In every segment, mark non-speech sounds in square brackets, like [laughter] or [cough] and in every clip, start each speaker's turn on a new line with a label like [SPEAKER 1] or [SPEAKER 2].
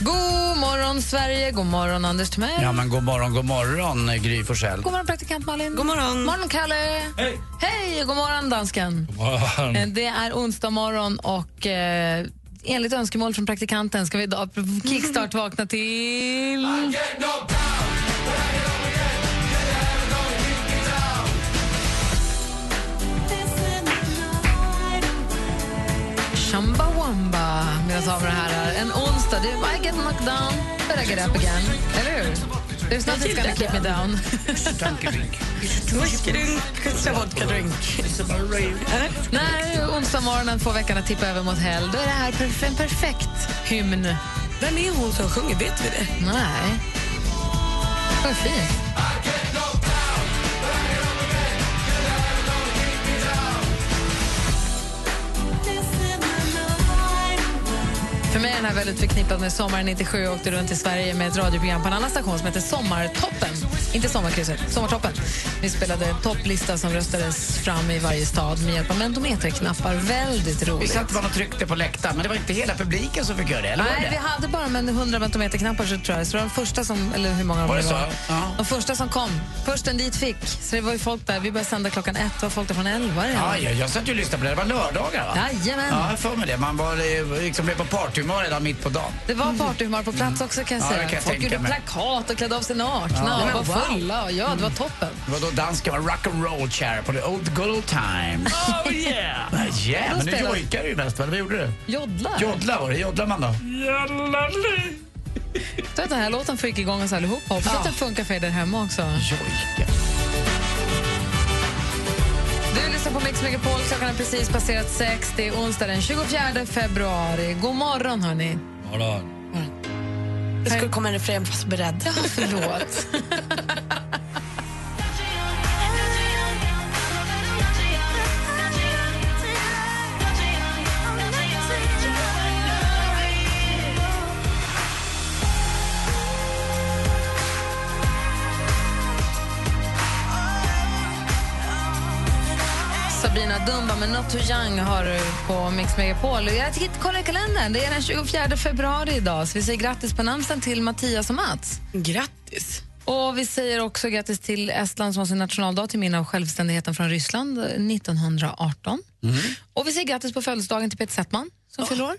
[SPEAKER 1] God morgon, Sverige. God morgon, Anders Timell.
[SPEAKER 2] Ja, men god morgon, god morgon, eh, Gry Forssell.
[SPEAKER 1] God morgon, praktikant Malin. God morgon. morgon Kalle. Hej. Hej och god morgon, dansken. Eh, Det är onsdag morgon och eh, enligt önskemål från praktikanten ska vi idag kickstart vakna till... Chumbawamba, mina damer och herrar. En onsdag. Du, I get knocked down, but I get up again. Eller hur? There's nothing gonna keep me down. När onsdag morgonen får veckan att tippa över mot helg då är det här perf- en perfekt hymn.
[SPEAKER 3] Vem är hon som sjunger? Vet vi det?
[SPEAKER 1] Nej. Vad fint. För mig är den här väldigt förknippad med sommaren 97. Jag åkte runt i Sverige med ett radioprogram på en annan station som heter Sommartoppen. Inte Sommarkrysset, Sommartoppen. Vi spelade en topplista som röstades fram i varje stad med hjälp av mentometerknappar. Väldigt
[SPEAKER 2] Vi
[SPEAKER 1] roligt.
[SPEAKER 2] satt bara och tryckte på läktaren, men det var inte hela publiken som fick göra det, eller var
[SPEAKER 1] Nej, vi
[SPEAKER 2] det?
[SPEAKER 1] hade bara men 100 meterknappar så tror jag. Så det var de första som, eller hur många de
[SPEAKER 2] Var det så?
[SPEAKER 1] var.
[SPEAKER 2] Ja.
[SPEAKER 1] De första som kom. Försten dit fick. Så det var ju folk där. Vi började sända klockan ett. Det var folk där från elva redan.
[SPEAKER 2] Ja, jag, jag satt ju och lyssnade på det. Det var lördagar, va?
[SPEAKER 1] Jajamän.
[SPEAKER 2] Ja, jag för mig det. Man var, eh, liksom blev på partyhumör redan mitt på dagen.
[SPEAKER 1] Det var partyhumör på plats också kan jag
[SPEAKER 2] Ja,
[SPEAKER 1] säga.
[SPEAKER 2] det kan jag
[SPEAKER 1] folk
[SPEAKER 2] tänka
[SPEAKER 1] gjorde
[SPEAKER 2] mig.
[SPEAKER 1] plakat och klädde av sig nakna
[SPEAKER 2] Ja.
[SPEAKER 1] och var
[SPEAKER 2] Men wow.
[SPEAKER 1] fulla. Och ja, det var toppen.
[SPEAKER 2] Det var då dansken var rock'n'roll chair på the old good old times. Oh yeah! yeah,
[SPEAKER 1] Då
[SPEAKER 2] men nu
[SPEAKER 1] spelar-
[SPEAKER 2] jojkar du ju mest, va? Vad gjorde du?
[SPEAKER 1] Joddlar.
[SPEAKER 2] Joddla var det. Joddlar man då?
[SPEAKER 1] Så att den här låten fick igång oss allihopa. Hoppas
[SPEAKER 2] Ja.
[SPEAKER 1] att den funkar för er där hemma också.
[SPEAKER 2] Jojka.
[SPEAKER 1] Du lyssnar på Mix Megapol. Klockan har precis passerat sex. Det är onsdag den 24 februari. God morgon, hörni.
[SPEAKER 3] Det skulle komma en refräng fast beredd.
[SPEAKER 1] Förlåt. Sabina Dumba med Not Too Young har du på Mix Megapol. Jag tittar, kolla i kalendern. Det är den 24 februari idag. Så vi säger grattis på namnsdagen till Mattias och Mats.
[SPEAKER 3] Grattis!
[SPEAKER 1] Och vi säger också grattis till Estland som har sin nationaldag till minne av självständigheten från Ryssland 1918.
[SPEAKER 2] Mm.
[SPEAKER 1] Och vi säger grattis på födelsedagen till Peter Settman som fyller år.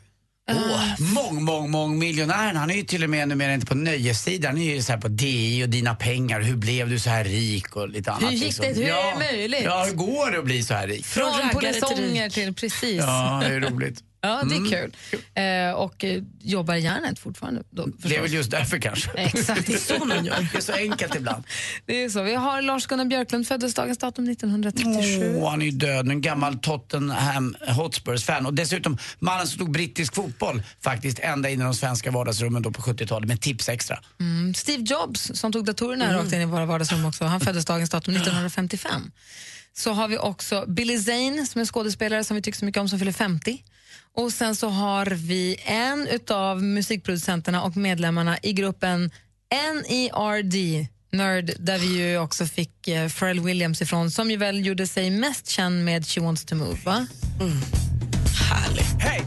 [SPEAKER 2] Åh, mång, mång, mång miljonären. Han är ju till och med numera inte på nöjessidan. Han är ju så här på DI och dina pengar. Hur blev du så här rik och lite annat. liksom?
[SPEAKER 1] gick det? Hur är det möjligt?
[SPEAKER 2] Ja, hur går det att bli så här rik?
[SPEAKER 3] Från
[SPEAKER 1] Från
[SPEAKER 3] raggare
[SPEAKER 1] polisonger till precis. Ja.
[SPEAKER 2] Ja, Mm. det är roligt.
[SPEAKER 1] det är kul. Eh, och eh, jobbar i järnet fortfarande. Då, förstås.
[SPEAKER 2] Det är väl just därför kanske.
[SPEAKER 1] Exakt.
[SPEAKER 2] [laughs] Det är så enkelt ibland.
[SPEAKER 1] Det är så. Vi har Lars-Gunnar Björklund, föddes dagens datum 1937.
[SPEAKER 2] Åh, han är ju död. En gammal Tottenham Hotspurs-fan. Och dessutom mannen som tog brittisk fotboll faktiskt ända in i de svenska vardagsrummen då på 70-talet med tips extra.
[SPEAKER 1] Mm. Steve Jobs, som tog datorerna rakt in i våra vardagsrum också, han föddes dagens datum 1955. Så har vi också Billy Zane, som är skådespelare som vi tycker så mycket om, som fyller 50. Och sen så har vi en utav musikproducenterna och medlemmarna i gruppen NERD, Nerd, där vi ju också fick eh, Pharrell Williams ifrån, som ju väl gjorde sig mest känd med She wants to move, va?
[SPEAKER 3] Härligt.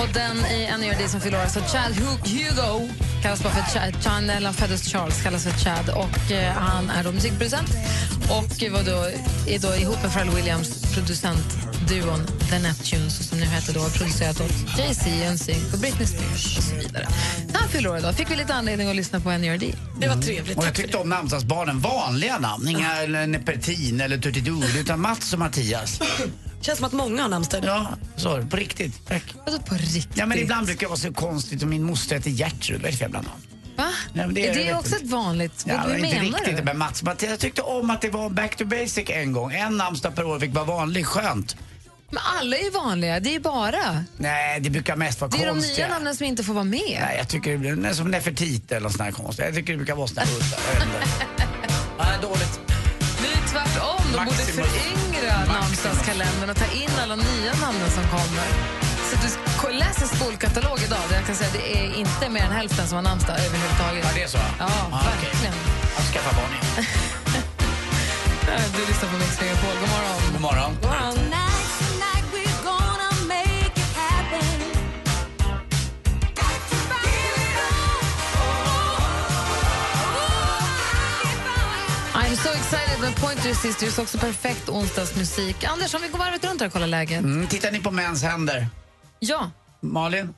[SPEAKER 1] Och den i NERD som fyller år, så Chad Hu- Hugo kallas bara för Chad, Chan, eller han föddes Charles, kallas för Chad och eh, han är då musikproducent och var då, är då ihop med Pharrell Williams producentduon The Neptunes som nu heter då producerat åt Jay-Z, NSYNC och Britney Spears och så vidare. Så han fyller år idag. Fick vi lite anledning att lyssna på NERD.
[SPEAKER 3] Det var trevligt.
[SPEAKER 2] Och jag
[SPEAKER 3] Tack för
[SPEAKER 2] tyckte om namnsdagsbarnen, vanliga namn. Inga eller Nepertin eller Turtidur, utan Mats och Mattias.
[SPEAKER 3] det. känns som att många har namnsdag.
[SPEAKER 2] Ja, så på riktigt. Tack.
[SPEAKER 1] Alltså på riktigt.
[SPEAKER 2] Ja, men ibland brukar jag vara så konstigt och min moster heter Gertrud. Vad är det för jävla namn?
[SPEAKER 1] Va?
[SPEAKER 2] Nej, men det
[SPEAKER 1] det,
[SPEAKER 2] är
[SPEAKER 1] är
[SPEAKER 2] det
[SPEAKER 1] också
[SPEAKER 2] inte.
[SPEAKER 1] ett vanligt...
[SPEAKER 2] Ja,
[SPEAKER 1] vad hur
[SPEAKER 2] inte
[SPEAKER 1] menar
[SPEAKER 2] riktigt,
[SPEAKER 1] du?
[SPEAKER 2] men Mats, Mats, jag tyckte om att det var back to basic en gång. En namnsdag per år fick vara vanlig, skönt.
[SPEAKER 1] Men alla är ju vanliga, det är ju bara...
[SPEAKER 2] Nej, det brukar mest vara
[SPEAKER 1] Det är de
[SPEAKER 2] konstiga.
[SPEAKER 1] nya namnen som inte får vara med.
[SPEAKER 2] Nej, jag tycker det blir nej, som Nefertiti eller nåt sånt här konstigt. Jag tycker det brukar vara såna här udda. Jag vet
[SPEAKER 1] [laughs]
[SPEAKER 2] inte. Nej, dåligt.
[SPEAKER 1] Det är tvärtom, de borde
[SPEAKER 2] Maximus.
[SPEAKER 1] föryngra namnsdagskalendern och ta in alla nya namnen som kommer. Så att du sk- läs en skolkatalog idag, där jag kan säga att det är inte mer än hälften som har namnsdag överhuvudtaget.
[SPEAKER 2] Ja, det är så? Ah,
[SPEAKER 1] Ja,
[SPEAKER 2] okej.
[SPEAKER 1] verkligen.
[SPEAKER 2] Jag ska skaffa barn igen.
[SPEAKER 1] Nej, Du lyssnar på Mix Megapol, god morgon.
[SPEAKER 2] God morgon.
[SPEAKER 1] I'm so excited med Pointer Sisters, också perfekt onsdagsmusik. Anders, om vi går varvet runt här och kollar läget.
[SPEAKER 2] Mm, tittar ni på mäns händer?
[SPEAKER 1] Ja,
[SPEAKER 2] Malin,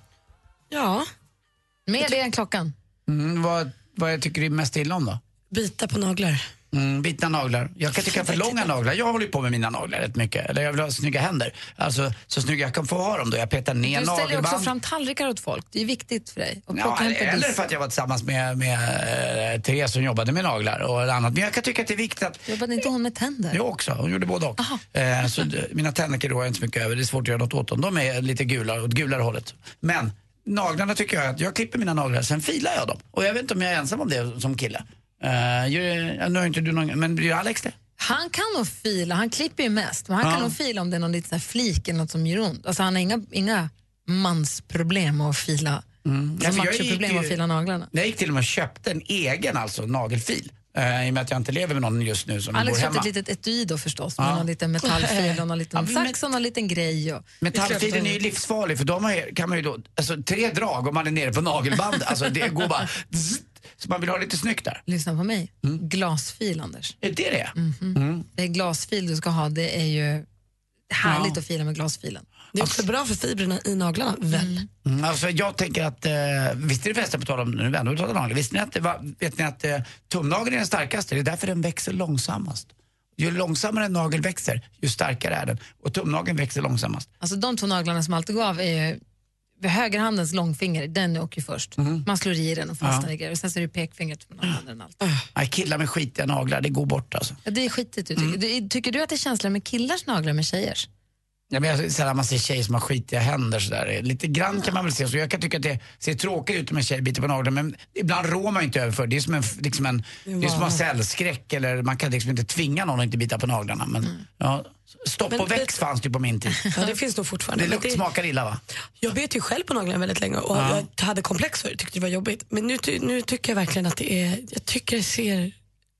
[SPEAKER 3] Ja,
[SPEAKER 1] med det än klockan.
[SPEAKER 2] mm, vad, vad jag tycker du mest illa om då?
[SPEAKER 3] bita på naglar.
[SPEAKER 2] Mm, bitna naglar. Jag kan tycka för långa naglar. Jag håller ju på med mina naglar rätt mycket. Eller jag vill ha snygga händer. Alltså så snygga jag kan få ha dem då. Jag petar ner
[SPEAKER 1] Du ställer ju också
[SPEAKER 2] nagelband.
[SPEAKER 1] fram tallrikar åt folk. Det är viktigt för dig. Och
[SPEAKER 2] Ja,
[SPEAKER 1] plocka hem på
[SPEAKER 2] eller
[SPEAKER 1] disk.
[SPEAKER 2] för att jag var tillsammans med, med eh, Therese som jobbade med naglar och annat. Men jag kan tycka att det är viktigt att
[SPEAKER 1] Jobbade inte hon med tänder?
[SPEAKER 2] jag också, hon gjorde både och. Eh, så d- mina tänder rår jag inte så mycket över, det är svårt att göra något åt dem. De är lite gula, åt gulare hållet. Men naglarna tycker jag att, jag klipper mina naglar, sen filar jag dem. Och jag vet inte om jag är ensam om det som kille. Eh, gör- nu har inte du någon, men gör Alex det?
[SPEAKER 1] Han kan nog fila, han klipper ju mest, men han kan nog fila om det är någon liten så här flik eller något som gör ont. Alltså han har inga, inga mansproblem att fila, mm.
[SPEAKER 2] Ja, för Alltså, jag gick
[SPEAKER 1] machoproblem
[SPEAKER 2] ju-
[SPEAKER 1] att fila naglarna.
[SPEAKER 2] Jag gick till och med och köpte en egen alltså, nagelfil. Eh, I och med att jag inte lever med någon just nu som
[SPEAKER 1] Alex
[SPEAKER 2] bor
[SPEAKER 1] köpte
[SPEAKER 2] hemma.
[SPEAKER 1] ett litet etui då förstås, med någon liten metallfil och någon liten
[SPEAKER 2] Ja, men-
[SPEAKER 1] sax och någon liten grej. Och...
[SPEAKER 2] Metallfilen är ju livsfarlig för de har, ju- kan man ju då, alltså tre drag om man är nere på nagelband, alltså det
[SPEAKER 1] [laughs]
[SPEAKER 2] går bara zzzt, så man vill ha lite snyggt där.
[SPEAKER 1] Lyssna på mig,
[SPEAKER 2] Mm.
[SPEAKER 1] glasfil Anders.
[SPEAKER 2] Är det det?
[SPEAKER 1] Det är glasfil du ska ha, det är ju härligt att fila med glasfilen.
[SPEAKER 3] Det är också bra för fibrerna i naglarna, väl?
[SPEAKER 2] Mm, alltså jag tänker att, eh, visste ni förresten på tal om, nu vänder vi talar nagel, visste ni att, det var, vet ni att eh, tumnageln är den starkaste, det är därför den växer långsammast. Ju långsammare en nagel växer, ju starkare är den. Och tumnageln växer långsammast.
[SPEAKER 1] Alltså de två naglarna som alltid går av är ju vid högerhandens långfinger, den åker ju först.
[SPEAKER 2] Mhm.
[SPEAKER 1] Man slår i den och fastnar i grejer. Och sen så är det pekfingret med handen allt.
[SPEAKER 2] Nej, killar med skitiga naglar, det går bort alltså.
[SPEAKER 1] Ja, det är skitigt. Du tycker. Du, tycker du att det är känsligare med killars naglar än med tjejers?
[SPEAKER 2] Ja, men jag, sällan man ser tjejer som har skitiga händer sådär. Lite grann kan man väl se så. Jag kan tycka att det ser tråkigt ut om en tjej biter på naglarna men ibland rår man ju inte över för det. Det är som en, liksom en, det är som en cellskräck eller man kan liksom inte tvinga någon att inte bita på naglarna. Men, ja, stopp och väx fanns Mm. det ju på min [laughs] tid.
[SPEAKER 3] Ja, det finns nog
[SPEAKER 2] Det
[SPEAKER 3] fortfarande. Men
[SPEAKER 2] lukt smakar illa va?
[SPEAKER 3] jag bet ju själv på naglarna väldigt länge och jag hade komplex för det, tyckte det var jobbigt. Men nu, ty, nu tycker jag verkligen att det är, jag tycker det ser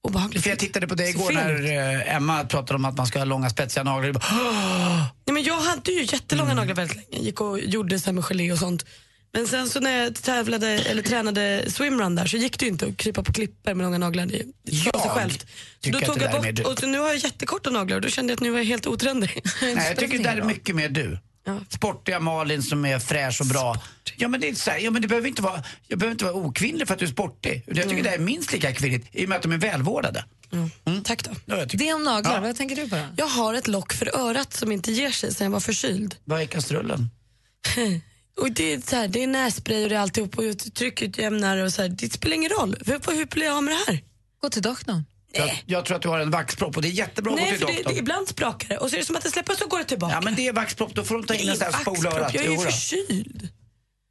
[SPEAKER 3] obehagligt
[SPEAKER 2] För jag tittade på det
[SPEAKER 3] Så
[SPEAKER 2] igår
[SPEAKER 3] fint.
[SPEAKER 2] när eh, Emma pratade om att man ska ha långa spetsiga naglar. Jag bara,
[SPEAKER 3] Nej, men jag hade ju jättelånga
[SPEAKER 2] Mm.
[SPEAKER 3] naglar väldigt länge. Gick och gjorde så här med gelé och sånt. Men sen så när jag tävlade eller tränade swimrun där så gick det ju inte att krypa på klippor med långa naglar. Det det sa sig
[SPEAKER 2] Jag
[SPEAKER 3] självt. Så
[SPEAKER 2] tycker
[SPEAKER 3] då
[SPEAKER 2] att
[SPEAKER 3] tog
[SPEAKER 2] det
[SPEAKER 3] jag
[SPEAKER 2] där är mer
[SPEAKER 3] bort och så nu har jag jättekorta naglar och då kände jag att nu var jag helt otrendig. [laughs]
[SPEAKER 2] Nej, jag tycker det där är
[SPEAKER 1] ingen
[SPEAKER 2] mycket mer du.
[SPEAKER 3] Ja.
[SPEAKER 2] Sportiga Malin som är fräsch och bra. Ja men det är så här, ja, men du behöver inte vara, jag behöver inte vara okvinnlig för att du är sportig. Jag
[SPEAKER 3] Mm.
[SPEAKER 2] tycker det här är minst lika kvinnligt i och med att de är välvårdade. Mm.
[SPEAKER 3] Tack då.
[SPEAKER 2] Ja, jag tycker.
[SPEAKER 1] Det om naglar,
[SPEAKER 2] Ja.
[SPEAKER 1] vad tänker du på då?
[SPEAKER 3] Jag har ett lock för örat som inte ger sig sen jag var förkyld.
[SPEAKER 2] Vad är kastrullen?
[SPEAKER 3] Och det, är så här, det är nässpray och det är alltihop och jag tryckutjämnare och så här. Det spelar ingen roll. Hur, hur blir jag av med det här?
[SPEAKER 1] Gå till doktorn.
[SPEAKER 2] Jag, jag tror att du har en vaxpropp och det är jättebra att gå
[SPEAKER 3] Nej,
[SPEAKER 2] till
[SPEAKER 3] för det,
[SPEAKER 2] doktorn.
[SPEAKER 3] det, ibland sprakar det och så är det som att det släpper och så går det tillbaka.
[SPEAKER 2] Ja men det är vaxpropp, då får de ta in en sån här
[SPEAKER 3] Axpropp,
[SPEAKER 2] spol i örat.
[SPEAKER 3] Jag är ju
[SPEAKER 2] Jodå.
[SPEAKER 3] förkyld.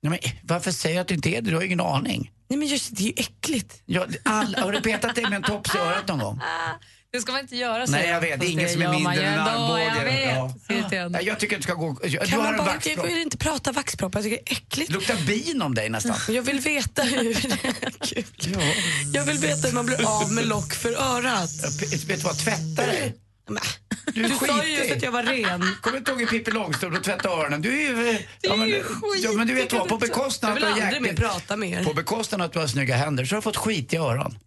[SPEAKER 2] Nej, men, varför säger jag att det inte är det? Du har ju ingen aning.
[SPEAKER 3] Nej men just det, det är ju äckligt.
[SPEAKER 2] Jag, all, har du petat dig med en tops i örat någon gång?
[SPEAKER 3] Ah.
[SPEAKER 1] Det ska man inte göra.
[SPEAKER 2] Nej jag vet, det är inget som är mindre än en armbåge. Ja. Nej, Jag tycker att du ska gå... Jag, du
[SPEAKER 3] Kan
[SPEAKER 2] har
[SPEAKER 3] man
[SPEAKER 2] en
[SPEAKER 3] bara inte,
[SPEAKER 2] vaxpropp.
[SPEAKER 3] får ju inte prata vaxpropp? Jag tycker det är äckligt.
[SPEAKER 2] Det luktar bin om dig nästan.
[SPEAKER 3] Men Jag vill veta hur... [laughs] Kul. Jag vill veta hur man blir av med lock för örat.
[SPEAKER 2] P- Vet du vad, tvätta dig.
[SPEAKER 3] Men,
[SPEAKER 2] Du är
[SPEAKER 3] Du sa ju just att
[SPEAKER 2] skitig.
[SPEAKER 3] jag var ren.
[SPEAKER 2] Kommer du inte ihåg hur Pippi Långstrump och tvätta öronen? Du är ju... eh, Ja, men, ja, men du vet vad, på bekostnad
[SPEAKER 3] Jag
[SPEAKER 2] av
[SPEAKER 3] vill
[SPEAKER 2] att du har
[SPEAKER 3] aldrig mer
[SPEAKER 2] jäkligt-
[SPEAKER 3] prata med
[SPEAKER 2] På
[SPEAKER 3] er.
[SPEAKER 2] bekostnad av att du har snygga händer så har du fått skit i öron.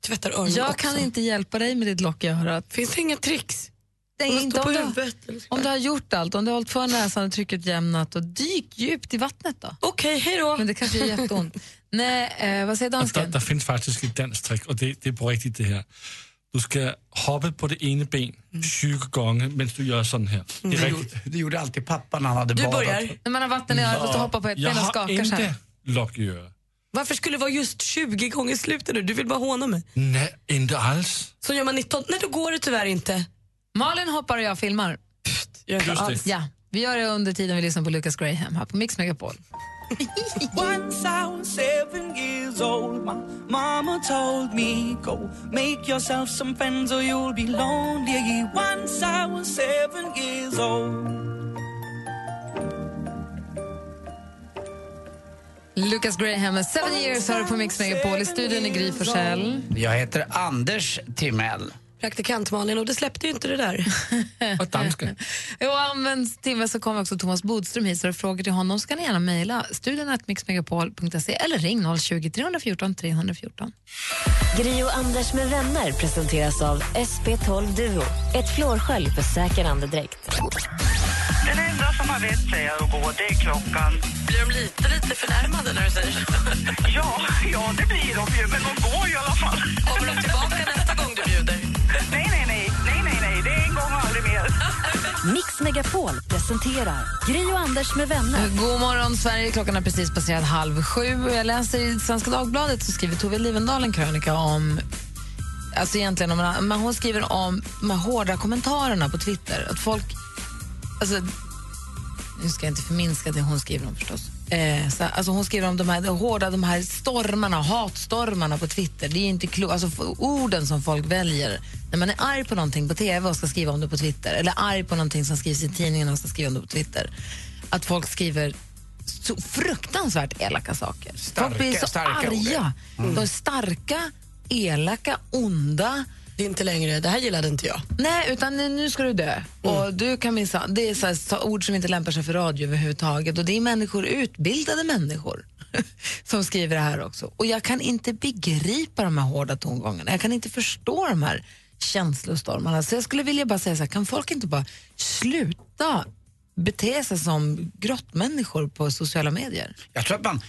[SPEAKER 3] Tvättar öronen
[SPEAKER 1] Jag
[SPEAKER 3] också.
[SPEAKER 1] kan inte hjälpa dig med ditt lock i örat.
[SPEAKER 3] Finns det inga tricks?
[SPEAKER 1] Nej,
[SPEAKER 3] Man
[SPEAKER 1] inte
[SPEAKER 3] står på
[SPEAKER 1] om, du, har-
[SPEAKER 3] huvudet eller så.
[SPEAKER 1] om du har gjort allt, om du har hållit för näsan och trycket jämnat och dyk djupt i vattnet då.
[SPEAKER 3] Okej, hej då.
[SPEAKER 1] Men det kanske gör
[SPEAKER 2] [laughs]
[SPEAKER 1] jätteont. Nej, eh, vad säger
[SPEAKER 4] Og der,
[SPEAKER 1] dansken?
[SPEAKER 4] der findes faktisk et dansk trick, og det, det er på rigtigt det her. Du skal hoppe på det ene ben 20 gange, mens du gør sådan her. Det er
[SPEAKER 2] Det,
[SPEAKER 4] rigtigt.
[SPEAKER 2] gjorde- det gjorde alltid pappa när han hade
[SPEAKER 3] Du
[SPEAKER 2] badat.
[SPEAKER 3] börjar.
[SPEAKER 1] När man har vatten i örat och hoppar på ett
[SPEAKER 4] Jeg
[SPEAKER 1] ben och
[SPEAKER 4] har
[SPEAKER 1] skakar så här.
[SPEAKER 4] ikke lokkeøre.
[SPEAKER 3] Varför skulle det vara just 20 gånger slutet nu? Du vill bara håna mig.
[SPEAKER 4] Nej, inte alls.
[SPEAKER 3] Så gör man 19, nej då går det tyvärr inte.
[SPEAKER 1] Malin hoppar och jag filmar.
[SPEAKER 3] Gör inte
[SPEAKER 4] Just
[SPEAKER 3] alls.
[SPEAKER 4] det.
[SPEAKER 1] Ja, vi gör det under tiden vi lyssnar på Lucas Graham här på Mix Megapol.
[SPEAKER 5] Once I was seven years old, my mama told me, Go make yourself some friends or you'll be lonely. Once I was seven years old.
[SPEAKER 1] Lucas Graham med Seven Years har du på Mix Megapol. I studion är Gry Forssell.
[SPEAKER 2] Jag heter Anders Timell.
[SPEAKER 3] Praktikant Malin och det släppte ju inte det där.
[SPEAKER 4] Och danska.
[SPEAKER 1] Och om en timme så kommer också Thomas Bodström hit, så har du frågor till honom så kan ni gärna mejla studion at mixmegapol.se eller ring 020 314 314.
[SPEAKER 6] Gri och Anders med vänner presenteras av SP12 Duo. Ett flårskölj för säker andedräkt.
[SPEAKER 7] Den enda som har vett säger jag att gå, det är klockan.
[SPEAKER 3] Blir de lite, lite förnärmade när du säger det?
[SPEAKER 7] Ja, ja, det blir de ju, men de går ju i alla fall.
[SPEAKER 3] Kommer de tillbaka nästa gång du bjuder?
[SPEAKER 7] Nej, nej, nej, nej, nej, nej, det är en gång och aldrig mer.
[SPEAKER 6] Mix Megapol presenterar Gri och Anders med vänner.
[SPEAKER 1] God morgon, Sverige. Klockan har precis passerat halv sju. Jag läser i Svenska Dagbladet så skriver Tove Livendal en krönika om... Alltså egentligen om, men hon skriver om de här hårda kommentarerna på Twitter. Att folk... Alltså, nu ska jag inte förminska det hon skriver om förstås. Eh, så, alltså hon skriver om de här de hårda de här stormarna, hatstormarna på Twitter. Det är ju inte klokt. Alltså f- orden som folk väljer när man är arg på någonting på TV och ska skriva om det på Twitter eller arg på någonting som skrivs i tidningen och ska skriva om det på Twitter. Att folk skriver så fruktansvärt elaka saker.
[SPEAKER 2] Starka-
[SPEAKER 1] folk blir så
[SPEAKER 2] starka ord.
[SPEAKER 1] arga. De är starka, elaka, onda.
[SPEAKER 3] Det är inte längre, det här gillade inte jag.
[SPEAKER 1] Nej, utan nu- nu ska du dö. Och du kan minsann, det är så här, så ord som inte lämpar sig för radio överhuvudtaget. Och det är människor, utbildade människor, [laughs] som skriver det här också. Och jag kan inte begripa de här hårda tongångarna. Jag kan inte förstå de här känslostormarna. Så jag skulle vilja bara säga så här, kan folk inte bara sluta bete sig som grottmänniskor på sociala medier?
[SPEAKER 2] Jag tror att man...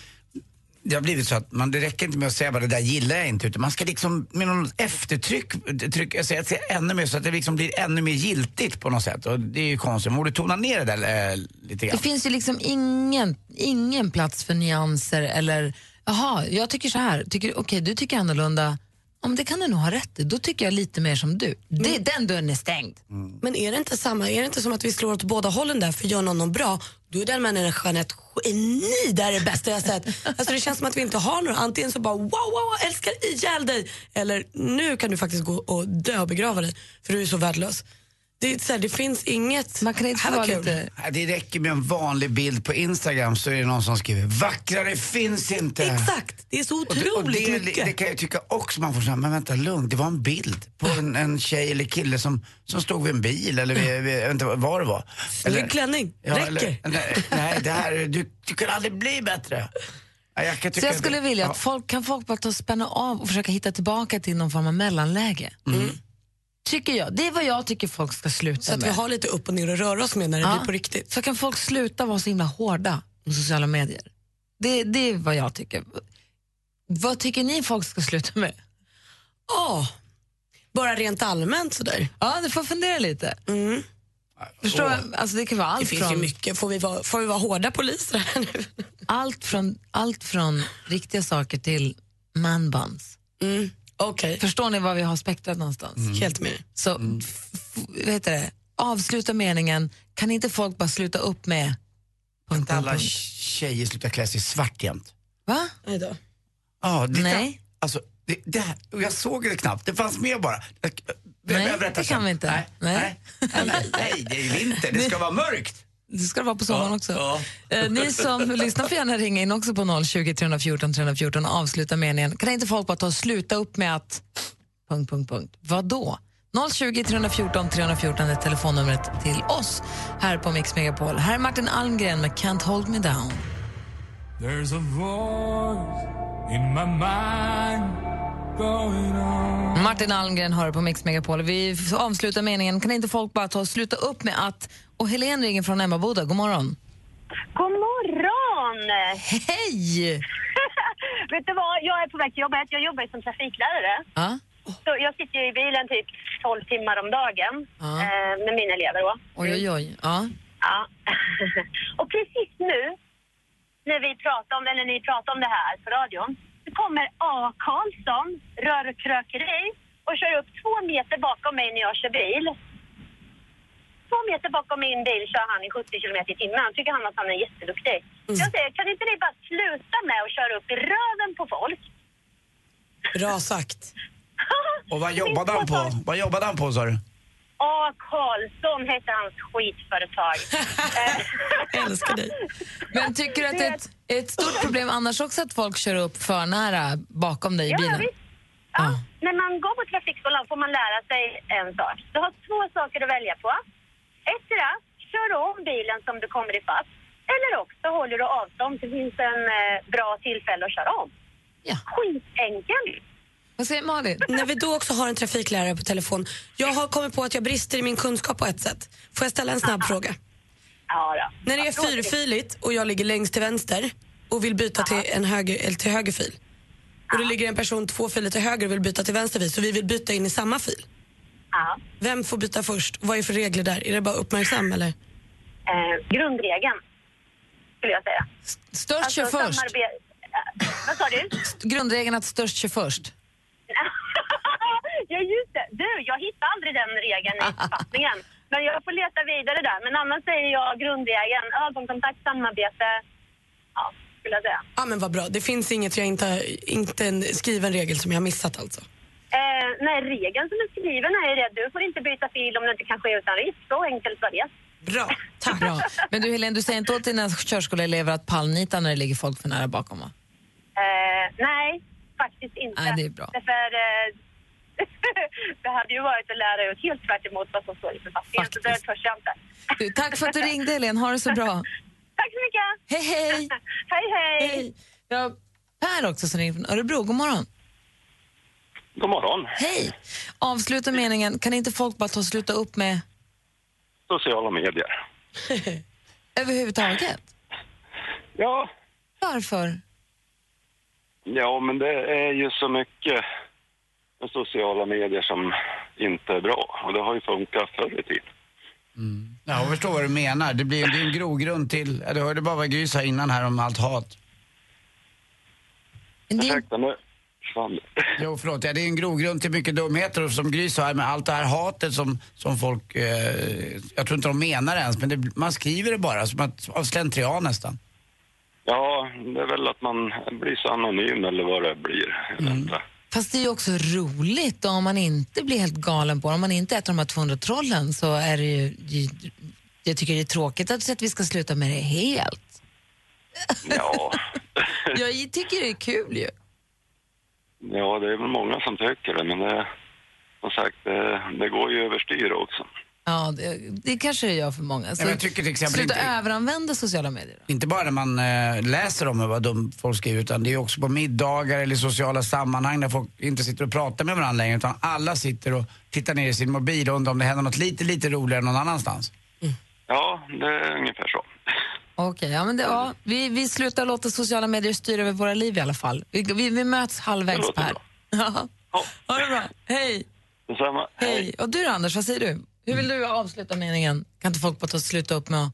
[SPEAKER 2] Det har blivit så att man, det räcker inte med att säga bara det där gillar jag inte utan man ska liksom med någon eftertryck tryck, jag säger, säga ännu mer så att det liksom blir ännu mer giltigt på något sätt. Och det är ju konstigt, man borde tona ner det där eh, lite
[SPEAKER 1] Det
[SPEAKER 2] grann.
[SPEAKER 1] finns ju liksom ingen, ingen plats för nyanser eller jaha, jag tycker så här, tycker, okej du tycker annorlunda, om det kan du nog ha rätt i, då tycker jag lite mer som du. Det, Den dörren är stängd.
[SPEAKER 3] Men är det inte samma, är det inte som att vi slår åt båda hållen där för gör någon någon bra, då är den människan ett geni, det här är det bästa jag sett. Alltså det känns som att vi inte har några, antingen så bara wow, wow, wow, älskar ihjäl dig, eller nu kan du faktiskt gå och dö och begrava dig för du är så värdelös. Det, är så här, det finns inget,
[SPEAKER 1] Man kan inte
[SPEAKER 3] här var
[SPEAKER 1] vara
[SPEAKER 3] kul.
[SPEAKER 1] lite...
[SPEAKER 2] Nej, Det räcker med en vanlig bild på Instagram så är det någon som skriver vackrare finns inte.
[SPEAKER 3] Exakt, det är så
[SPEAKER 2] Och det,
[SPEAKER 3] otroligt
[SPEAKER 2] och det,
[SPEAKER 3] mycket.
[SPEAKER 2] det kan jag tycka också, man får säga, men vänta lugn, det var en bild på en, en tjej eller kille som, som stod vid en bil eller vid, vid, jag vet inte vad det var.
[SPEAKER 3] Eller en klänning, räcker.
[SPEAKER 2] eller- nej, nej, det här, du, du kan aldrig bli bättre. Nej, Jag kan
[SPEAKER 1] Så
[SPEAKER 2] tycka
[SPEAKER 1] jag skulle
[SPEAKER 2] det-
[SPEAKER 1] vilja
[SPEAKER 2] ja.
[SPEAKER 1] att folk, kan folk bara ta och spänna av och försöka hitta tillbaka till någon form av mellanläge. Mm. Tycker jag. Det är vad jag tycker folk ska sluta
[SPEAKER 3] Så att vi
[SPEAKER 1] med.
[SPEAKER 3] har lite upp och ner att röra oss med när det
[SPEAKER 1] Ja.
[SPEAKER 3] blir på riktigt.
[SPEAKER 1] Så kan folk sluta vara så himla hårda på sociala medier. Det, det är vad jag tycker. Vad tycker ni folk ska sluta med?
[SPEAKER 3] Ja, bara rent allmänt sådär.
[SPEAKER 1] Ja, du får fundera lite. Förstår
[SPEAKER 2] Åh.
[SPEAKER 1] jag? Alltså det kan vara
[SPEAKER 3] Mm. Det
[SPEAKER 1] allt
[SPEAKER 3] finns ju
[SPEAKER 1] från,
[SPEAKER 3] mycket, får vi vara, får vi vara hårda poliser här nu?
[SPEAKER 2] [laughs]
[SPEAKER 1] allt, från, allt från riktiga saker till manbands.
[SPEAKER 3] Mm. Okej,
[SPEAKER 1] Förstår ni var vi har spektrat någonstans?
[SPEAKER 2] Mm.
[SPEAKER 3] helt med.
[SPEAKER 1] Så
[SPEAKER 3] Mm.
[SPEAKER 1] f- f- vad heter det? avsluta meningen, kan inte folk bara sluta upp med... Punkt,
[SPEAKER 2] Att alla
[SPEAKER 1] punkt, punkt.
[SPEAKER 2] tjejer slutar klä sig i svart jämt.
[SPEAKER 1] Va?
[SPEAKER 3] Nej då.
[SPEAKER 2] Ja, det
[SPEAKER 1] Nej.
[SPEAKER 2] Alltså, det, det här, och jag såg det knappt, det fanns med bara. Jag,
[SPEAKER 1] Nej,
[SPEAKER 2] jag berättar
[SPEAKER 1] det kan
[SPEAKER 2] sen.
[SPEAKER 1] vi inte.
[SPEAKER 2] Nej,
[SPEAKER 1] Nej.
[SPEAKER 2] nej. Nej, nej, nej, det är vinter, det ska vara mörkt.
[SPEAKER 1] Det ska det vara på sommaren
[SPEAKER 2] Ja,
[SPEAKER 1] också.
[SPEAKER 2] ja.
[SPEAKER 1] Eh, ni
[SPEAKER 2] [laughs]
[SPEAKER 1] som lyssnar får gärna ringa in också på 020 314 314 och avsluta meningen. Kan inte folk bara ta och sluta upp med att... Punkt, punkt, punkt. Vadå? 020 314 314 är telefonnumret till oss här på Mix Megapol. Här är Martin Almgren med Can't hold me down.
[SPEAKER 4] There's a voice in my mind going on.
[SPEAKER 1] Martin Almgren hör på Mix Megapol. Vi f- avslutar meningen. Kan inte folk bara ta och sluta upp med att... Och Helen ringer från Emmaboda. God morgon.
[SPEAKER 7] God morgon! [laughs]
[SPEAKER 1] Hej!
[SPEAKER 7] Vet du vad, jag är på väg till jobbet. Jag jobbar ju som trafiklärare.
[SPEAKER 1] Ja,
[SPEAKER 7] Så jag sitter ju i bilen typ 12 timmar om dagen
[SPEAKER 1] Ja.
[SPEAKER 7] eh, med mina elever då.
[SPEAKER 8] [laughs]
[SPEAKER 1] oj, oj, oj. Ja.
[SPEAKER 7] Ja. Och precis nu,
[SPEAKER 8] när vi pratade om, eller ni pratade om det här på radion. Så kommer A. Karlsson, rörkrökeri, och kör upp två meter bakom mig när jag kör bil. Två meter bakom min bil kör han i 70 kilometer i timmen. Tycker han att han är jätteduktig. Jag säger, kan inte ni bara sluta med att köra upp i röven på folk?
[SPEAKER 3] Bra sagt.
[SPEAKER 2] Och vad jobbade han på? Vad jobbade han på sa du?
[SPEAKER 8] A. Karlsson hette hans skitföretag.
[SPEAKER 3] [laughs] Älskar dig.
[SPEAKER 1] Men tycker du att det är ett, ett stort problem annars också att folk kör upp för nära bakom dig i
[SPEAKER 8] Ja, ja,
[SPEAKER 1] bilen?
[SPEAKER 8] visst. Ja. När man går på trafikskolan får man lära sig en sak. Du har två saker att välja på. Ett är att kör om bilen som du kommer ifatt. Eller också håller du avstånd till det finns en eh, bra tillfälle att köra om.
[SPEAKER 1] Ja.
[SPEAKER 8] Skitenkelt.
[SPEAKER 1] Vad säger Malin?
[SPEAKER 3] När vi då också har en trafiklärare på telefon. Jag har kommit på att jag brister i min kunskap på ett sätt. Får jag ställa en snabb fråga?
[SPEAKER 8] Ja, då.
[SPEAKER 3] När det är fyrfiligt och jag ligger längst till vänster och vill byta till, en höger, eller till höger fil och det ligger en person två filer till höger och vill byta till vänster fil så vi vill byta in i samma fil.
[SPEAKER 8] Ja.
[SPEAKER 3] Vem får byta först? Vad är för regler där? Är det bara uppmärksam eller?
[SPEAKER 8] Eh, grundregeln, skulle jag säga.
[SPEAKER 1] Störst kör
[SPEAKER 8] Alltså,
[SPEAKER 1] först.
[SPEAKER 8] samarbete- Eh, Vad sa du?
[SPEAKER 1] Grundregeln att störst kör först.
[SPEAKER 8] [laughs] ja, just det. Du, jag hittar aldrig den regeln i
[SPEAKER 1] [laughs]
[SPEAKER 8] författningen. Men jag får leta vidare där. Men annars säger jag grundregeln. Ögonkontakt, samarbete. Ja, skulle jag säga.
[SPEAKER 3] Ja men vad bra, det finns inget jag inte, inte en skriven regel som jag har missat alltså.
[SPEAKER 8] Eh, nej, regeln som är skriven är det. Du får inte byta fil om det inte kan ske utan risk. Så enkelt var det.
[SPEAKER 3] Bra, tack.
[SPEAKER 1] Bra. Men du Helene, du säger inte åt dina körskoleelever att pallnita när det ligger folk för nära bakom va?
[SPEAKER 8] Eh, nej, faktiskt inte.
[SPEAKER 1] Nej, det är bra.
[SPEAKER 8] Därför, eh, det [laughs] hade ju varit att lära ut helt tvärt emot vad som står i författningen. Så det törs jag inte.
[SPEAKER 1] Du, tack för att du ringde Helene, ha det så bra.
[SPEAKER 8] Tack så mycket!
[SPEAKER 1] Hej hej!
[SPEAKER 8] hej, hej!
[SPEAKER 1] Hej. Vi har Per också som ringer från Örebro, god morgon.
[SPEAKER 7] God morgon.
[SPEAKER 1] Hej! Avsluta meningen, kan inte folk bara ta och sluta upp med
[SPEAKER 7] Sociala medier.
[SPEAKER 1] [laughs] överhuvudtaget?
[SPEAKER 7] Ja,
[SPEAKER 1] Varför?
[SPEAKER 7] ja, men det är ju så mycket med sociala medier som Mm, inte är bra. Och det har ju funkat förr i tiden.
[SPEAKER 2] Ja, jag förstår vad du menar. Det blir det är en grogrund till... ja, Du hörde bara vad Gry sa innan här om allt hat.
[SPEAKER 1] Men det är
[SPEAKER 7] Ursäkta, nu försvann det.
[SPEAKER 2] Jo, förlåt. Ja, det är en grogrund till mycket dumheter och som Gry sa här med allt det här hatet som, som folk... Eh, jag tror inte de menar det ens, men det, man skriver det bara som att, av slentrian nästan.
[SPEAKER 7] Ja, det är väl att man blir så anonym eller vad det blir. Jag
[SPEAKER 1] Mm.
[SPEAKER 7] vet inte.
[SPEAKER 1] Fast det är ju också roligt och om man inte blir helt galen på det, om man inte äter de här 200 trollen så är det ju, ju- jag tycker det är tråkigt att, att vi ska sluta med det
[SPEAKER 7] [laughs]
[SPEAKER 1] helt. [laughs]
[SPEAKER 7] Ja.
[SPEAKER 1] Jag tycker det är kul ju.
[SPEAKER 7] ja, det är väl många som tycker det, men det, som sagt, det, det går ju överstyr också.
[SPEAKER 1] Ja, det, det kanske det gör för många. Så
[SPEAKER 2] men jag tycker till exempel
[SPEAKER 1] sluta
[SPEAKER 2] inte-
[SPEAKER 1] överanvända sociala medier. då.
[SPEAKER 2] Inte bara när man eh, läser om vad dum folk skriver, utan det är också på middagar eller i sociala sammanhang där folk inte sitter och pratar med varandra längre, utan alla sitter och tittar ner i sin mobil och undrar om det händer något lite, lite roligare någon annanstans.
[SPEAKER 7] Ja, det är ungefär så.
[SPEAKER 1] Okej, ja, men det, ja, vi, vi slutar låta sociala medier styra över våra liv i alla fall. Vi, vi, vi möts
[SPEAKER 7] Det
[SPEAKER 1] halvvägs
[SPEAKER 7] låter
[SPEAKER 1] Per.
[SPEAKER 7] bra.
[SPEAKER 1] [laughs] Ja. Ha det bra. Hej.
[SPEAKER 7] Detsamma.
[SPEAKER 1] Hej. Och du då, Anders, vad säger du? Hur vill du avsluta meningen? Kan inte folk bara ta och sluta upp med att...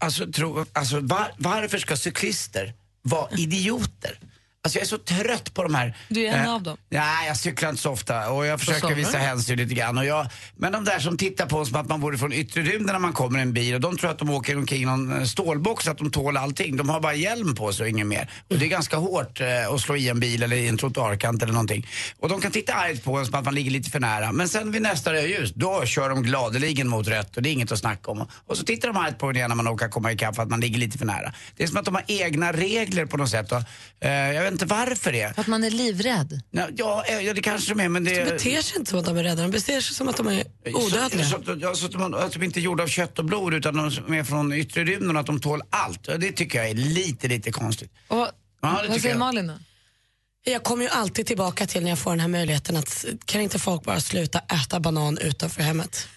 [SPEAKER 2] Alltså, tro, alltså var, varför ska cyklister vara idioter? Alltså jag är så trött på de här... eh,
[SPEAKER 1] Du är en av dem.
[SPEAKER 2] Nej, jag cyklar inte så ofta och jag försöker
[SPEAKER 1] sommaren?
[SPEAKER 2] visa hänsyn lite grann. Och jag, men de där som tittar på oss som att man vore från yttre rymden när man kommer i en bil och de tror att de åker omkring i någon eh, stålbox, att de tål allting. De har bara hjälm på sig och inget mer. Och det är ganska hårt eh, att slå i en bil eller i en trottoarkant eller någonting. Och de kan titta argt på en som att man ligger lite för nära. Men sen vid nästa rödljus, då kör de gladeligen mot rött och det är inget att snacka om. Och så tittar de argt på en igen när man åker komma ikapp för att man ligger lite för nära. Det är som att de har egna regler på något sätt. Och, eh, jag vet inte varför det.
[SPEAKER 1] För att man är livrädd.
[SPEAKER 2] Nej, Ja, eh, ja, det kanske de är, men
[SPEAKER 3] De
[SPEAKER 2] det...
[SPEAKER 3] beter sig inte som att de är rädda, de beter sig som att de är odödliga.
[SPEAKER 2] Så, så, ja, så att, de, att de inte är gjorda av kött och blod utan de som är från yttre rymden och att de tål allt. Ja, Det tycker jag är lite, lite konstigt.
[SPEAKER 1] Och, vad-
[SPEAKER 2] det tycker
[SPEAKER 1] vad säger
[SPEAKER 2] jag.
[SPEAKER 1] Malin då?
[SPEAKER 3] Jag kommer ju alltid tillbaka till när jag får den här möjligheten att kan inte folk bara sluta äta banan utanför hemmet?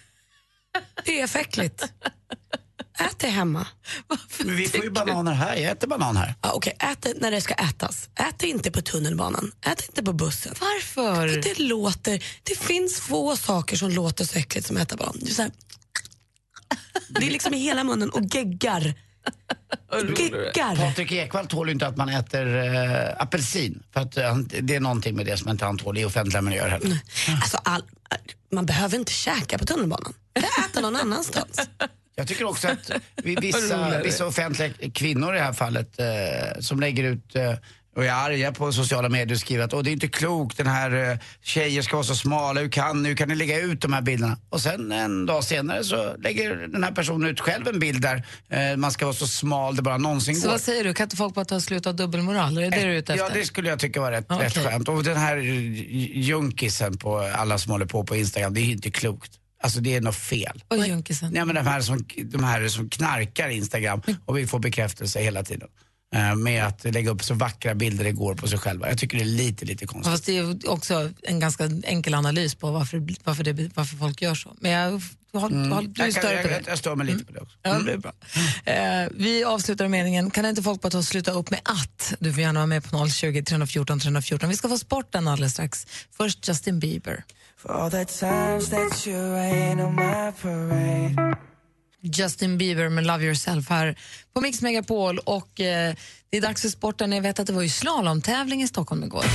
[SPEAKER 3] Det är för äckligt. Ät det hemma.
[SPEAKER 2] Men vi får ju bananer här, jag äter banan här.
[SPEAKER 3] Ja, Okej, ät det när det ska ätas. Ät det inte på tunnelbanan. Ät det inte på bussen.
[SPEAKER 1] Varför?
[SPEAKER 3] Det låter, det finns få saker som låter så äckligt som att äta banan. Det är, så här, det är liksom i hela munnen och geggar. Kickar.
[SPEAKER 2] Patrik Ekwall tål ju inte att man äter eh, apelsin. För att eh, han- det är någonting med det som inte han tål i offentliga miljöer heller.
[SPEAKER 3] Alltså, all, man behöver inte käka på tunnelbanan. Äta någon annanstans.
[SPEAKER 2] Jag tycker också att vi,
[SPEAKER 3] Vad
[SPEAKER 2] vissa,
[SPEAKER 3] roligare.
[SPEAKER 2] vissa offentliga kvinnor i det här fallet eh, som lägger ut eh, och är arga på sociala medier och skriver att Åh, det är inte klokt, den här eh, tjejer ska vara så smala, hur kan, hur kan ni lägga ut de här bilderna? Och sen en dag senare så lägger den här personen ut själv en bild där eh, man ska vara så smal det bara någonsin
[SPEAKER 1] Så
[SPEAKER 2] går.
[SPEAKER 1] vad säger du, kan inte folk bara ta slut av dubbelmoral? Är det det du är ute
[SPEAKER 2] Ja,
[SPEAKER 1] efter?
[SPEAKER 2] det skulle jag tycka var rätt,
[SPEAKER 1] Ja,
[SPEAKER 2] rätt
[SPEAKER 1] okej.
[SPEAKER 2] skönt. Och den här j- junkisen på alla som håller på på Instagram, det är ju inte klokt. Alltså det är något fel.
[SPEAKER 1] Och junkisen.
[SPEAKER 2] Nej, men de här som, de här som knarkar Instagram och vi får bekräftelse hela tiden. Eh, med att lägga upp så vackra bilder det går på sig själva. Jag tycker det är lite, lite konstigt.
[SPEAKER 1] Fast det är ju också en ganska enkel analys på varför, varför, det, varför folk gör så. Men jag, håll, håll, du är
[SPEAKER 2] jag, kan,
[SPEAKER 1] större
[SPEAKER 2] jag,
[SPEAKER 1] på det.
[SPEAKER 2] jag, jag stör mig lite på det också. Mm.
[SPEAKER 1] Ja, det är bra. Eh, vi avslutar meningen, kan inte folk bara ta och sluta upp med att? Du får gärna vara med på 020 314 314. Vi ska få sporten alldeles strax. Först Justin Bieber. Justin Bieber med Love Yourself här på Mix Megapol och eh, det är dags för sporten. Jag vet att det var ju slalomtävling i Stockholm igår.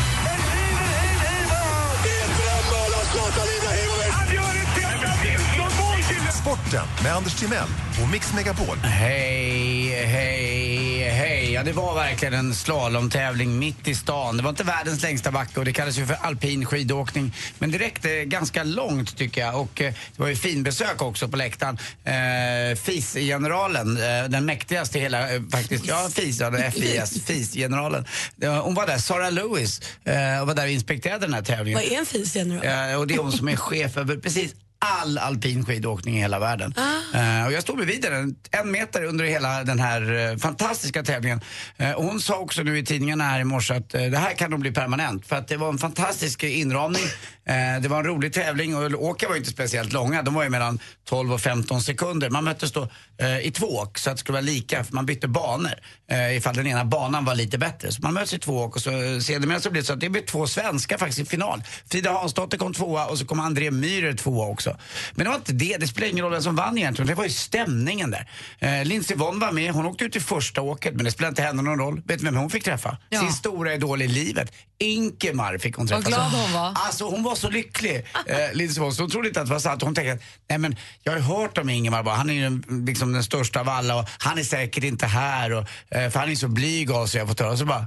[SPEAKER 9] Sporten med Anders Timell och Mix Megapol.
[SPEAKER 2] Hej, hej, hej. Ja, det var verkligen en slalomtävling mitt i stan. Det var inte världens längsta backe och det kallas ju för alpin skidåkning. Men det räckte ganska långt tycker jag. Och eh, det var ju finbesök också på läktaren. Eh, FIS-generalen, eh, den mäktigaste i hela, eh, faktiskt. Ja, FIS, ja, det är FIS, FIS-generalen. Eh, Hon var där, Sara Lewis, eh, och var där och inspekterade den här tävlingen.
[SPEAKER 3] Vad är en fis general?
[SPEAKER 2] Eh, och det är hon som är chef över precis all alpin skidåkning i hela världen. Eh, och jag stod bredvid henne, en meter under hela den här eh, fantastiska tävlingen. Eh, och hon sa också nu i tidningarna här i morse att eh, det här kan nog bli permanent. För att det var en fantastisk inramning. Eh, det var en rolig tävling och åken var ju inte speciellt långa. De var ju mellan 12 och 15 sekunder. Man möttes då eh, i två åk så att det skulle vara lika för man bytte banor eh, ifall den ena banan var lite bättre. Så man möts i två åk och så sedermera så blev det så att det blev två svenskar faktiskt i final. Frida Hansdotter kom tvåa och så kom André Myhrer tvåa också. Men det var inte det, det spelade ingen roll vem som vann egentligen. Det var ju stämningen där. Eh, Lindsey Vonn var med, hon åkte ut i första åket men det spelade inte henne någon roll. Vet du vem hon fick träffa?
[SPEAKER 1] Ja.
[SPEAKER 2] Sin stora idol i livet, Inkemar fick hon träffa.
[SPEAKER 1] Vad glad
[SPEAKER 2] Så-
[SPEAKER 1] hon var.
[SPEAKER 2] Alltså hon var så lycklig, eh, Lindsey Vonn, så hon trodde inte att det var sant. Hon tänkte att, nej men jag har ju hört om Ingemar bara, han är ju den, liksom den största av alla och han är säkert inte här och, eh, för han är så blyg av sig, jag har fått höra. Så bara,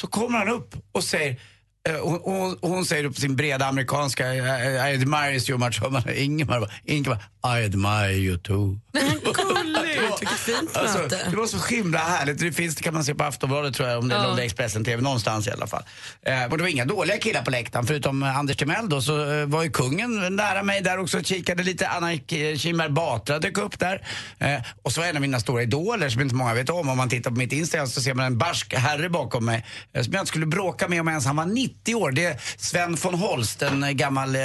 [SPEAKER 2] så kommer han upp och säger eh, och, och, och hon säger upp sin breda amerikanska eh, I admire you much. Och man- Ingemar bara, Ingemar, I admire you too.
[SPEAKER 3] Gulligt! Vilket fint
[SPEAKER 2] Alltså,
[SPEAKER 3] möte.
[SPEAKER 2] det var så himla härligt. Det finns, det kan man se på Aftonbladet tror jag, om det
[SPEAKER 3] Ja.
[SPEAKER 2] eller om det är Expressen TV, någonstans i alla fall. Eh, och det var inga dåliga killar på läktaren, förutom eh, Anders Timell då, så eh, var ju kungen nära mig där också och kikade lite. Anna K- Kinberg Batra dök upp där. Eh, och så var en av mina stora idoler, som inte många vet om, om man tittar på mitt Instagram så ser man en barsk herre bakom mig, eh, som jag inte skulle bråka med om ens han var 90 år. Det är Sven von Holst, en eh, gammal eh,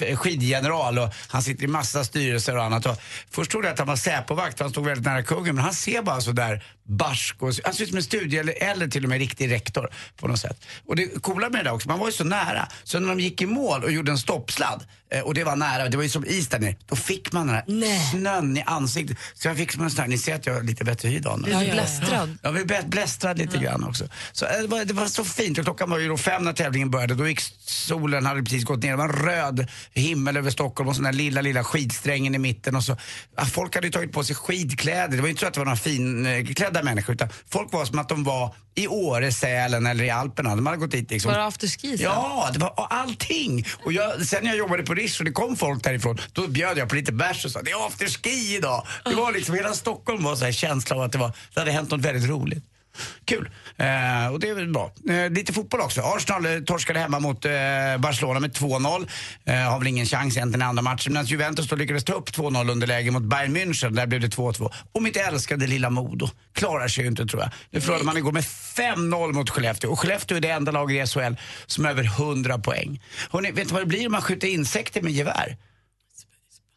[SPEAKER 2] f- skidgeneral och han sitter i massa styrelser och annat. Och först trodde jag att han var Säpovakt, för han stod väldigt nära kungen, men han ser bara så där barsk och han ser ut som en studie eller, eller till och med riktig rektor på något sätt. Och det coola med det där också, man var ju så nära, så när de gick i mål och gjorde en stoppsladd eh, och det var nära, det var ju som is där nere, då fick man den här snön i ansiktet. Så jag fick som en sån här, ni ser att jag har lite bättre hy idag. nu.
[SPEAKER 1] Ja, ja, ja.
[SPEAKER 2] Ja, vi blev blästrad lite grann också. Så eh, det var, det var så fint och klockan var ju då fem när tävlingen började. Då gick solen, hade precis gått ner. Det var en röd himmel över Stockholm och så den där lilla, lilla skidsträngen i mitten. Och så, ja, folk hade ju tagit på sig skidkläder. Det var ju inte så att det var några finklädda människor utan folk var som att de var i Åre, Sälen eller i Alperna. De hade gått dit liksom.
[SPEAKER 1] Var det afterski sen?
[SPEAKER 2] Ja, det var och allting. Och jag, sen när jag jobbade på Rish och det kom folk därifrån, då bjöd jag på lite bärs och sa det är afterski idag. Det var liksom, hela Stockholm var så här känsla av att det, var, det hade hänt något väldigt roligt. Kul. Eh, och det är väl bra. Eh, lite fotboll också. Arsenal eh, torskade hemma mot eh, Barcelona med 2-0. Eh, har väl ingen chans egentligen i andra matchen. Medan Juventus då lyckades ta upp 2-0 underläge mot Bayern München. Där blev det 2-2. Och mitt älskade lilla Modo klarar sig ju inte tror jag. Nu förlorade man igår med 5-0 mot Skellefteå. Och Skellefteå är det enda lag i SHL som har över 100 poäng. Hörrni, vet ni vad det blir om man skjuter insekter med gevär?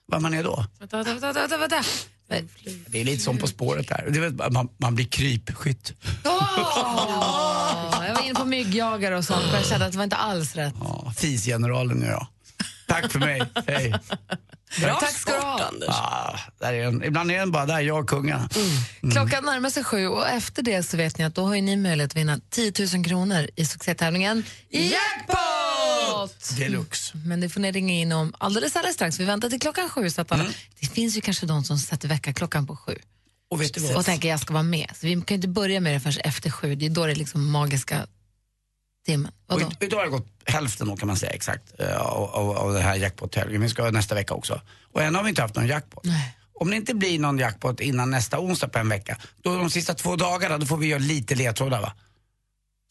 [SPEAKER 2] Vad man är då?
[SPEAKER 1] Vänta, vänta, vänta, vänta, vänta. Nej.
[SPEAKER 2] Det är lite som På spåret där. Det är väl- Man, man blir krypskytt.
[SPEAKER 1] Åh, jag var inne på myggjagare och sånt, men jag kände att det var inte alls rätt.
[SPEAKER 2] Fisgeneralen och jag. Tack för mig. Hej.
[SPEAKER 1] Bra Tack ska du ha.
[SPEAKER 3] sport, Anders.
[SPEAKER 2] Ah, där är den. Ibland är den bara där, jag och kungen. Mm.
[SPEAKER 1] Klockan närmar sig sju och efter det så vet ni att då har ju ni möjlighet att vinna 10 000 kronor i succétävlingen Jackpot!
[SPEAKER 2] Deluxe.
[SPEAKER 1] Men det får ni ringa in om alldeles, alldeles strax. Vi väntar till klockan sju. Så att alla,
[SPEAKER 2] Mm.
[SPEAKER 1] Det finns ju kanske de som sätter väckarklockan på sju
[SPEAKER 2] och, vet du vad?
[SPEAKER 1] och tänker jag ska vara med. Så vi kan ju inte börja med det förrän efter sju. Det är då det är liksom magiska timmen.
[SPEAKER 2] Och i- idag har det gått hälften då kan man säga exakt eh, av, av, av den här jackpot-tävlingen. Vi ska ha nästa vecka också. Och än har vi inte haft någon jackpot. Om det inte blir någon jackpot innan nästa onsdag på en vecka, då de sista två dagarna, då får vi göra lite ledtrådar va?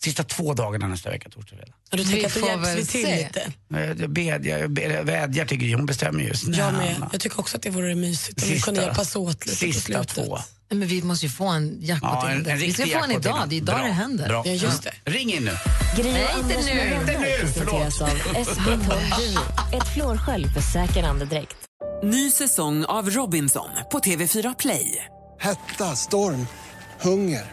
[SPEAKER 2] Sista två dagarna nästa vecka, torsdag, fredag.
[SPEAKER 3] Ja, du tänker att då
[SPEAKER 1] får
[SPEAKER 3] hjälps
[SPEAKER 1] väl
[SPEAKER 3] vi till
[SPEAKER 1] se.
[SPEAKER 3] lite.
[SPEAKER 2] Eh, Jag, bed, jag, ber- jag vädjar till Gry, hon bestämmer ju.
[SPEAKER 3] Jag med.
[SPEAKER 2] Snälla.
[SPEAKER 3] Jag tycker också att det vore mysigt om vi
[SPEAKER 2] Sista-
[SPEAKER 3] kunde hjälpas åt lite på
[SPEAKER 2] Sista
[SPEAKER 3] slutet.
[SPEAKER 2] två.
[SPEAKER 1] Nej, Men vi måste ju få en jackpot.
[SPEAKER 2] Ja, en,
[SPEAKER 1] innan
[SPEAKER 2] en
[SPEAKER 1] dess. vi ska
[SPEAKER 2] riktig
[SPEAKER 1] få en
[SPEAKER 2] jackpot
[SPEAKER 1] idag.
[SPEAKER 2] innan.
[SPEAKER 1] Det är idag
[SPEAKER 2] bra,
[SPEAKER 1] det händer.
[SPEAKER 2] Bra. Mm.
[SPEAKER 3] Ja, just det.
[SPEAKER 2] Ring in nu.
[SPEAKER 6] Gry
[SPEAKER 1] Nej,
[SPEAKER 6] och
[SPEAKER 1] inte
[SPEAKER 6] Anders
[SPEAKER 1] nu,
[SPEAKER 6] med
[SPEAKER 1] inte
[SPEAKER 6] vänner
[SPEAKER 1] nu,
[SPEAKER 6] presenteras av SP12 Duo. Ett flårskölj för säker andedräkt.
[SPEAKER 10] Ny säsong av Robinson på TV4 Play.
[SPEAKER 11] Hetta, storm, hunger.